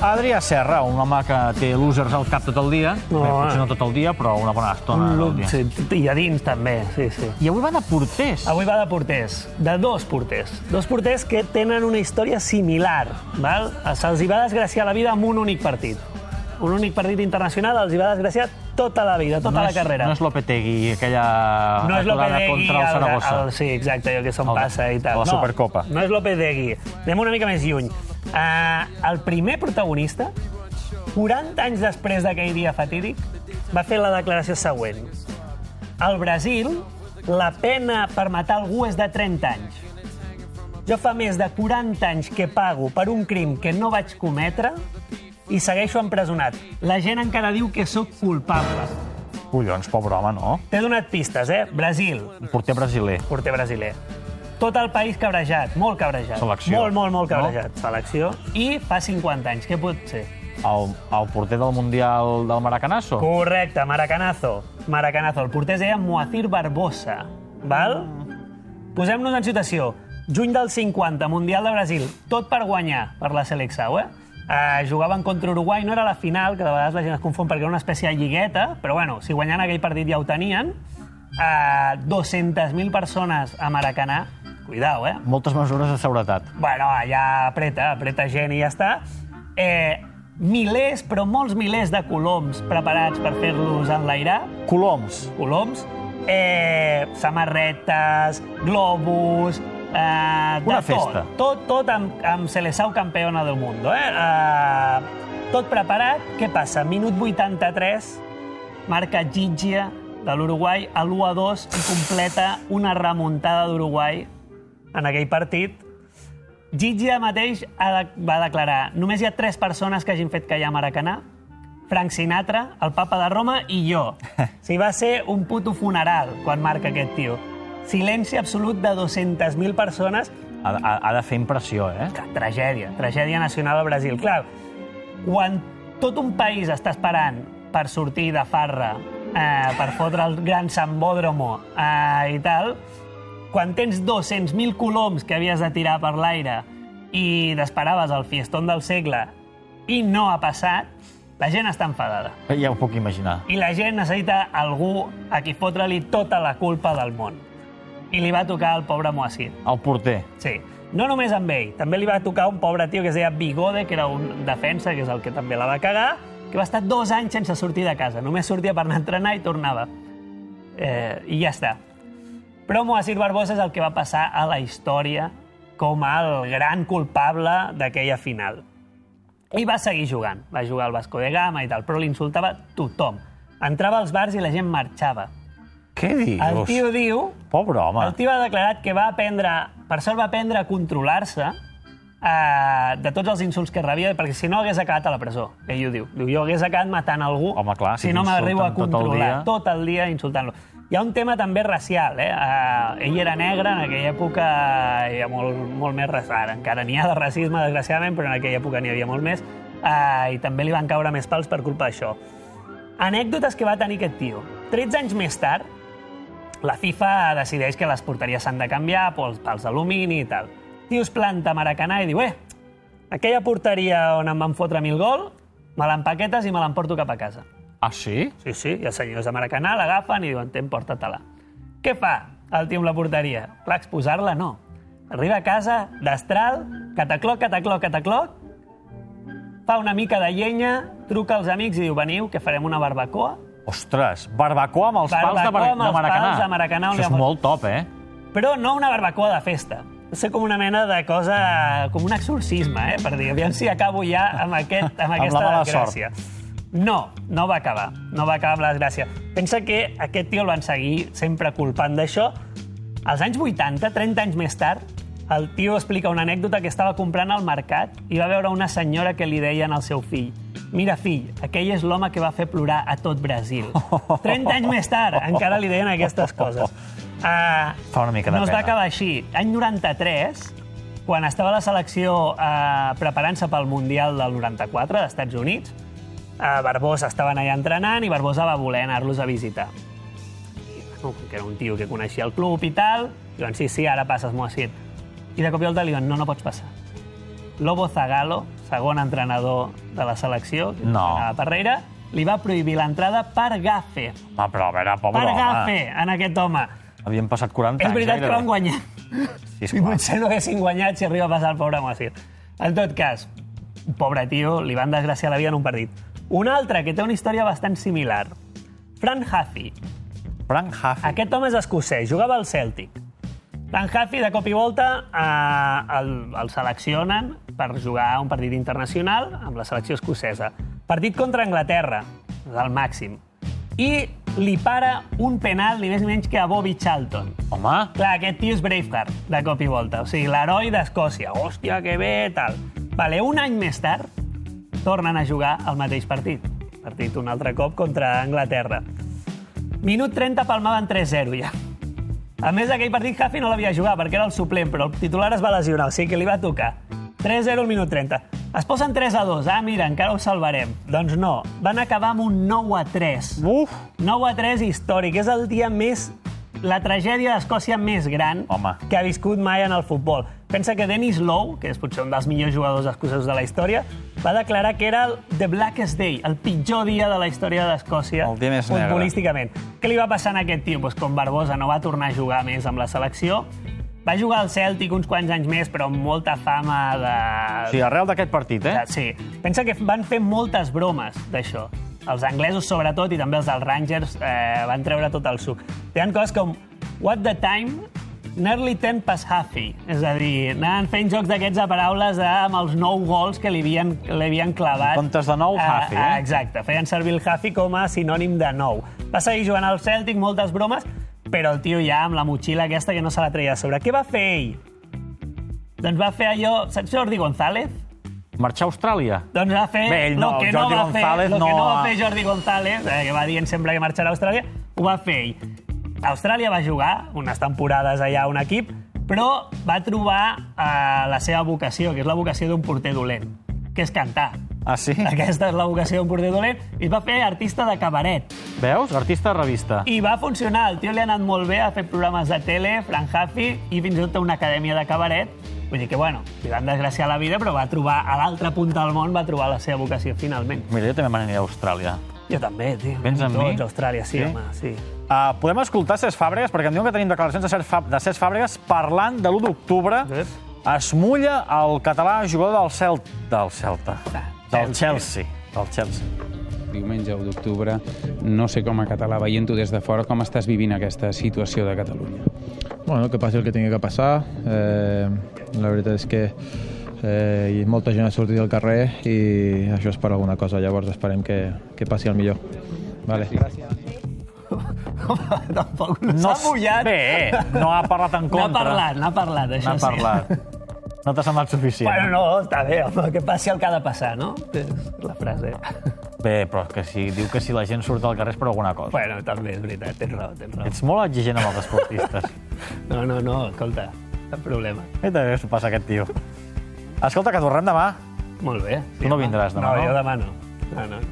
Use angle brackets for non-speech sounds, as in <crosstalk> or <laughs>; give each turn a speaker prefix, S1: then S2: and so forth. S1: Adrià Serra, un home que té losers al cap tot el dia, no,
S2: No,
S1: bé,
S2: eh.
S1: potser no tot el dia, però una bona estona
S2: No,
S1: del dia.
S2: sí, I a dins, també, sí, sí.
S1: I avui va de porters.
S2: Avui va de porters, de dos porters. Dos porters que tenen una història similar. Val? Se'ls hi va desgraciar la vida amb un únic partit. Un únic partit internacional els hi va desgraciar tota la vida, tota
S1: no
S2: la
S1: és,
S2: carrera.
S1: No és Lopetegui, aquella
S2: no és
S1: aturada
S2: Lopetegui,
S1: contra el Saragossa.
S2: El, sí, exacte, allò que se'n
S1: El-
S2: passa i tal.
S1: la Supercopa.
S2: No, no és Lopetegui. Anem una mica més lluny. Uh, el primer protagonista, 40 anys després d'aquell dia fatídic, va fer la declaració següent. Al Brasil, la pena per matar algú és de 30 anys. Jo fa més de 40 anys que pago per un crim que no vaig cometre i segueixo empresonat. La gent encara diu que sóc culpable.
S1: Collons, pobre home, no?
S2: T'he donat pistes, eh? Brasil,
S1: Un porter brasiler.
S2: porter brasiler. Tot el país cabrejat, molt cabrejat.
S1: Selecció.
S2: Molt, molt, molt
S1: No?
S2: cabrejat. No? Selecció. I fa 50 anys, què pot ser?
S1: El, el porter del Mundial del Maracanazo.
S2: Correcte, Maracanazo. Maracanazo. El porter es deia Moacir Barbosa. Val?
S1: Mm.
S2: Posem-nos en situació. Juny del 50, Mundial de Brasil. Tot per guanyar per la Selecció, eh? Uh, jugaven contra Uruguai, no era la final, que de vegades la gent es confon perquè era una espècie de lligueta, però bueno, si guanyen aquell partit ja ho tenien. Uh, 200.000 persones a Maracanà. Cuidao, eh?
S1: Moltes mesures de seguretat.
S2: bueno, allà apreta, apreta gent i ja està. Eh, milers, però molts milers de coloms preparats per fer-los enlairar,
S1: Coloms.
S2: coloms, eh, samarretes, globus, eh, de
S1: Una
S2: tot.
S1: festa.
S2: Tot, tot amb, amb Seleção campeona del món. Eh? Eh, tot preparat. Què passa? Minut 83, marca Gigia de l'Uruguai a l'1-2 i completa una remuntada d'Uruguai en aquell partit. Gigia mateix ha de- va declarar només hi ha tres persones que hagin fet callar Maracanà, Frank Sinatra, el papa de Roma i jo. Si va ser un puto funeral quan marca aquest tio. Silenci absolut de 200.000 persones
S1: Ha, ha, ha de fer impressió, eh?
S2: que tragèdia, tragèdia nacional al Brasil. Clar, quan tot un país està esperant per sortir de farra, eh, per fotre el gran sambódromo eh, i tal, quan tens 200.000 coloms que havies de tirar per l'aire i t'esperaves el fiestón del segle i no ha passat, la gent està enfadada.
S1: Ja ho puc imaginar.
S2: I la gent necessita algú a qui fotre-li tota la culpa del món. I li va tocar al pobre Moacir.
S1: El porter.
S2: Sí. No només amb ell, també li va tocar un pobre tio que es deia Bigode, que era un defensa, que és el que també la va cagar, que va estar dos anys sense sortir de casa. Només sortia per anar a entrenar i tornava. Eh, I ja està. Però Moacir Barbosa és el que va passar a la història com el gran culpable d'aquella final. I va seguir jugant. Va jugar al Vasco de Gama i tal, però l'insultava tothom. Entrava als bars i la gent marxava.
S1: Què dius?
S2: El tio diu
S1: Pobre home.
S2: el tio ha declarat que va aprendre, per sort va aprendre a controlar-se eh, de tots els insults que rebia, perquè si no hagués acabat a la presó. Ell ho diu. diu jo hagués acabat matant algú
S1: Home, clar, si
S2: si no m'arribo a
S1: t'insulten tot el
S2: controlar.
S1: dia.
S2: Tot el dia, insultant-lo. Hi ha un tema també racial, eh? eh ell era negre, en aquella època hi ha molt, molt més racisme. Ara encara n'hi ha de racisme, desgraciadament, però en aquella època n'hi havia molt més. Eh, I també li van caure més pals per culpa d'això. Anècdotes que va tenir aquest tio. 13 anys més tard, la FIFA decideix que les porteries s'han de canviar pels pals d'alumini i tal. Dius planta a Maracanà i diu, eh, aquella porteria on em van fotre mil gol, me l'empaquetes i me l'emporto cap a casa.
S1: Ah, sí?
S2: Sí, sí, i els senyors de Maracanà l'agafen i diuen, ten, porta-te-la. Què fa el tio amb la porteria? Clar, exposar-la no. Arriba a casa, destral, catacloc, catacloc, catacloc, fa una mica de llenya, truca als amics i diu, veniu, que farem una barbacoa,
S1: Ostres, barbacoa amb els pals de,
S2: Barbacoa amb
S1: de
S2: els
S1: Maracanà.
S2: pals de Maracanà, on
S1: Això
S2: hi ha
S1: és
S2: molt-
S1: molt top, eh?
S2: però no una barbacoa de festa. Va ser com una mena de cosa... com un exorcisme, eh? Per dir, aviam si acabo ja amb, aquest, amb
S1: la
S2: aquesta
S1: mala
S2: desgràcia. No, no va acabar. No va acabar amb la desgràcia. Pensa que aquest tio el van seguir sempre culpant d'això. Als anys 80, 30 anys més tard, el tio explica una anècdota que estava comprant al mercat i va veure una senyora que li deien al seu fill Mira, fill, aquell és l'home que va fer plorar a
S1: <laughs>
S2: tot Brasil. 30 anys més tard, encara li deien aquestes coses. Uh,
S1: Fa una mica de
S2: no es va
S1: pena.
S2: acabar així. Any 93, quan estava la selecció eh, preparant-se pel Mundial del 94 dels Estats Units, eh, Barbosa estaven allà entrenant i Barbosa va voler anar-los a visitar. I, bueno, que era un tio que coneixia el club i tal, diuen, sí, sí, ara passes, Moacir. I de cop i volta li diuen, no, no pots passar. Lobo Zagalo, segon entrenador de la selecció, que
S1: No.
S2: era Parreira, li va prohibir l'entrada per gafe.
S1: Home, però a veure, pobre
S2: Per
S1: home.
S2: gafe, en aquest home.
S1: Havien passat 40
S2: És
S1: anys.
S2: veritat que
S1: gairebé.
S2: van guanyar.
S1: Sí,
S2: I
S1: esclar.
S2: potser no haguessin guanyat si arriba a passar el pobre Macir. En tot cas, pobre tio, li van desgraciar la vida en un partit. Un altre que té una història bastant similar. Fran Huffy.
S1: Frank Huffy.
S2: Aquest home és escocès, jugava al Celtic. Fran Huffy, de cop i volta, eh, el, el seleccionen per jugar a un partit internacional amb la selecció escocesa. Partit contra Anglaterra, del màxim. I li para un penal ni més ni menys que a Bobby Charlton.
S1: Home,
S2: Clar, aquest tio és Braveheart, de cop i volta. O sigui, l'heroi d'Escòcia. Hòstia, que bé, tal. Vale, un any més tard, tornen a jugar al mateix partit. Partit un altre cop contra Anglaterra. Minut 30 palmaven 3-0 ja. A més, aquell partit Huffy no l'havia jugat perquè era el suplent, però el titular es va lesionar, o sigui que li va tocar. 3-0 al minut 30. Es posen 3 a 2. Ah, mira, encara ho salvarem. Doncs no, van acabar amb un 9 a 3.
S1: uf,
S2: 9 a 3 històric. És el dia més... La tragèdia d'Escòcia més gran
S1: Home.
S2: que ha viscut mai en el futbol. Pensa que Dennis Lowe, que és potser un dels millors jugadors escocesos de la història, va declarar que era el The Blackest Day, el pitjor dia de la història d'Escòcia
S1: El dia més negre.
S2: futbolísticament. Què li va passar a aquest tio? Pues com Barbosa no va tornar a jugar més amb la selecció, va jugar al Celtic uns quants anys més, però amb molta fama de...
S1: sí, arrel d'aquest partit, eh?
S2: Ah, Sí. Pensa que van fer moltes bromes d'això. Els anglesos, sobretot, i també els dels Rangers, eh, van treure tot el suc. Tenen coses com What the time, nearly 10 past halfy. És a dir, anaven fent jocs d'aquests a paraules de, amb els nou gols que li havien, li havien clavat.
S1: En comptes de nou, halfy, eh?
S2: Exacte, feien servir el halfy com a sinònim de nou. Va seguir jugant al Celtic, moltes bromes, però el tio ja amb la motxilla aquesta que no se la treia de sobre. Què va fer ell? Doncs va fer allò... Saps Jordi González?
S1: Marxar a Austràlia.
S2: Doncs va fer
S1: Bé, ell
S2: lo
S1: no,
S2: que
S1: Jordi
S2: no va
S1: González
S2: fer, lo que
S1: no
S2: no
S1: ha-
S2: va fer Jordi González, eh, que va dient sempre que marxarà a Austràlia, ho va fer ell. A Austràlia va jugar unes temporades allà a un equip, però va trobar eh, la seva vocació, que és la vocació d'un porter dolent, que és cantar.
S1: Ah, sí?
S2: Aquesta és la vocació d'un porter dolent. I es va fer artista de cabaret.
S1: Veus? Artista de revista.
S2: I va funcionar. El tio li ha anat molt bé, ha fet programes de tele, Fran Huffy, i fins i tot té una acadèmia de cabaret. Vull dir que, bueno, li van desgraciar la vida, però va trobar, a l'altra punta del món, va trobar la seva vocació finalment.
S1: Mira, jo també me n'aniré a Austràlia.
S2: Jo també, tio.
S1: Vens amb
S2: Tots,
S1: mi?
S2: Austràlia, sí,
S1: Sí?
S2: sí, home, sí.
S1: Uh, podem escoltar Cesc Fàbregas, perquè em diuen que tenim declaracions de Cesc, Fab de Cesc Fàbregas parlant de l'1 d'octubre.
S2: Ep.
S1: Es mulla el català jugador del Cel... del Celta. Del Chelsea. Del Chelsea.
S3: Diumenge 1 d'octubre, no sé com a català, veient-ho des de fora, com estàs vivint aquesta situació de Catalunya?
S4: Bueno, que passi el que tingui que passar. Eh, la veritat és que eh, hi molta gent ha sortit al carrer i això és per alguna cosa. Llavors esperem que, que passi el millor. Vale.
S2: Home, tampoc no, <laughs> s'ha
S1: s-
S2: mullat.
S1: Bé,
S2: <laughs>
S1: no ha parlat en
S2: N'ha
S1: contra.
S2: parlat, n'ha parlat, això
S1: N'ha
S2: sí.
S1: parlat. No t'ha semblat suficient.
S2: Bueno, no, està bé, home, que passi el que ha de passar, no? És la frase. <laughs>
S1: Bé, però és que si diu que si la gent surt al carrer és per alguna cosa.
S2: Bueno, també és veritat, tens raó, tens raó.
S1: Ets molt exigent amb els
S2: <laughs>
S1: esportistes.
S2: No, no, no, escolta, cap problema.
S1: Què també s'ho passa a aquest tio? Escolta, que tornem demà.
S2: Molt bé.
S1: Tu no vindràs demà,
S2: no?
S1: no?
S2: No, jo demà no. No, no.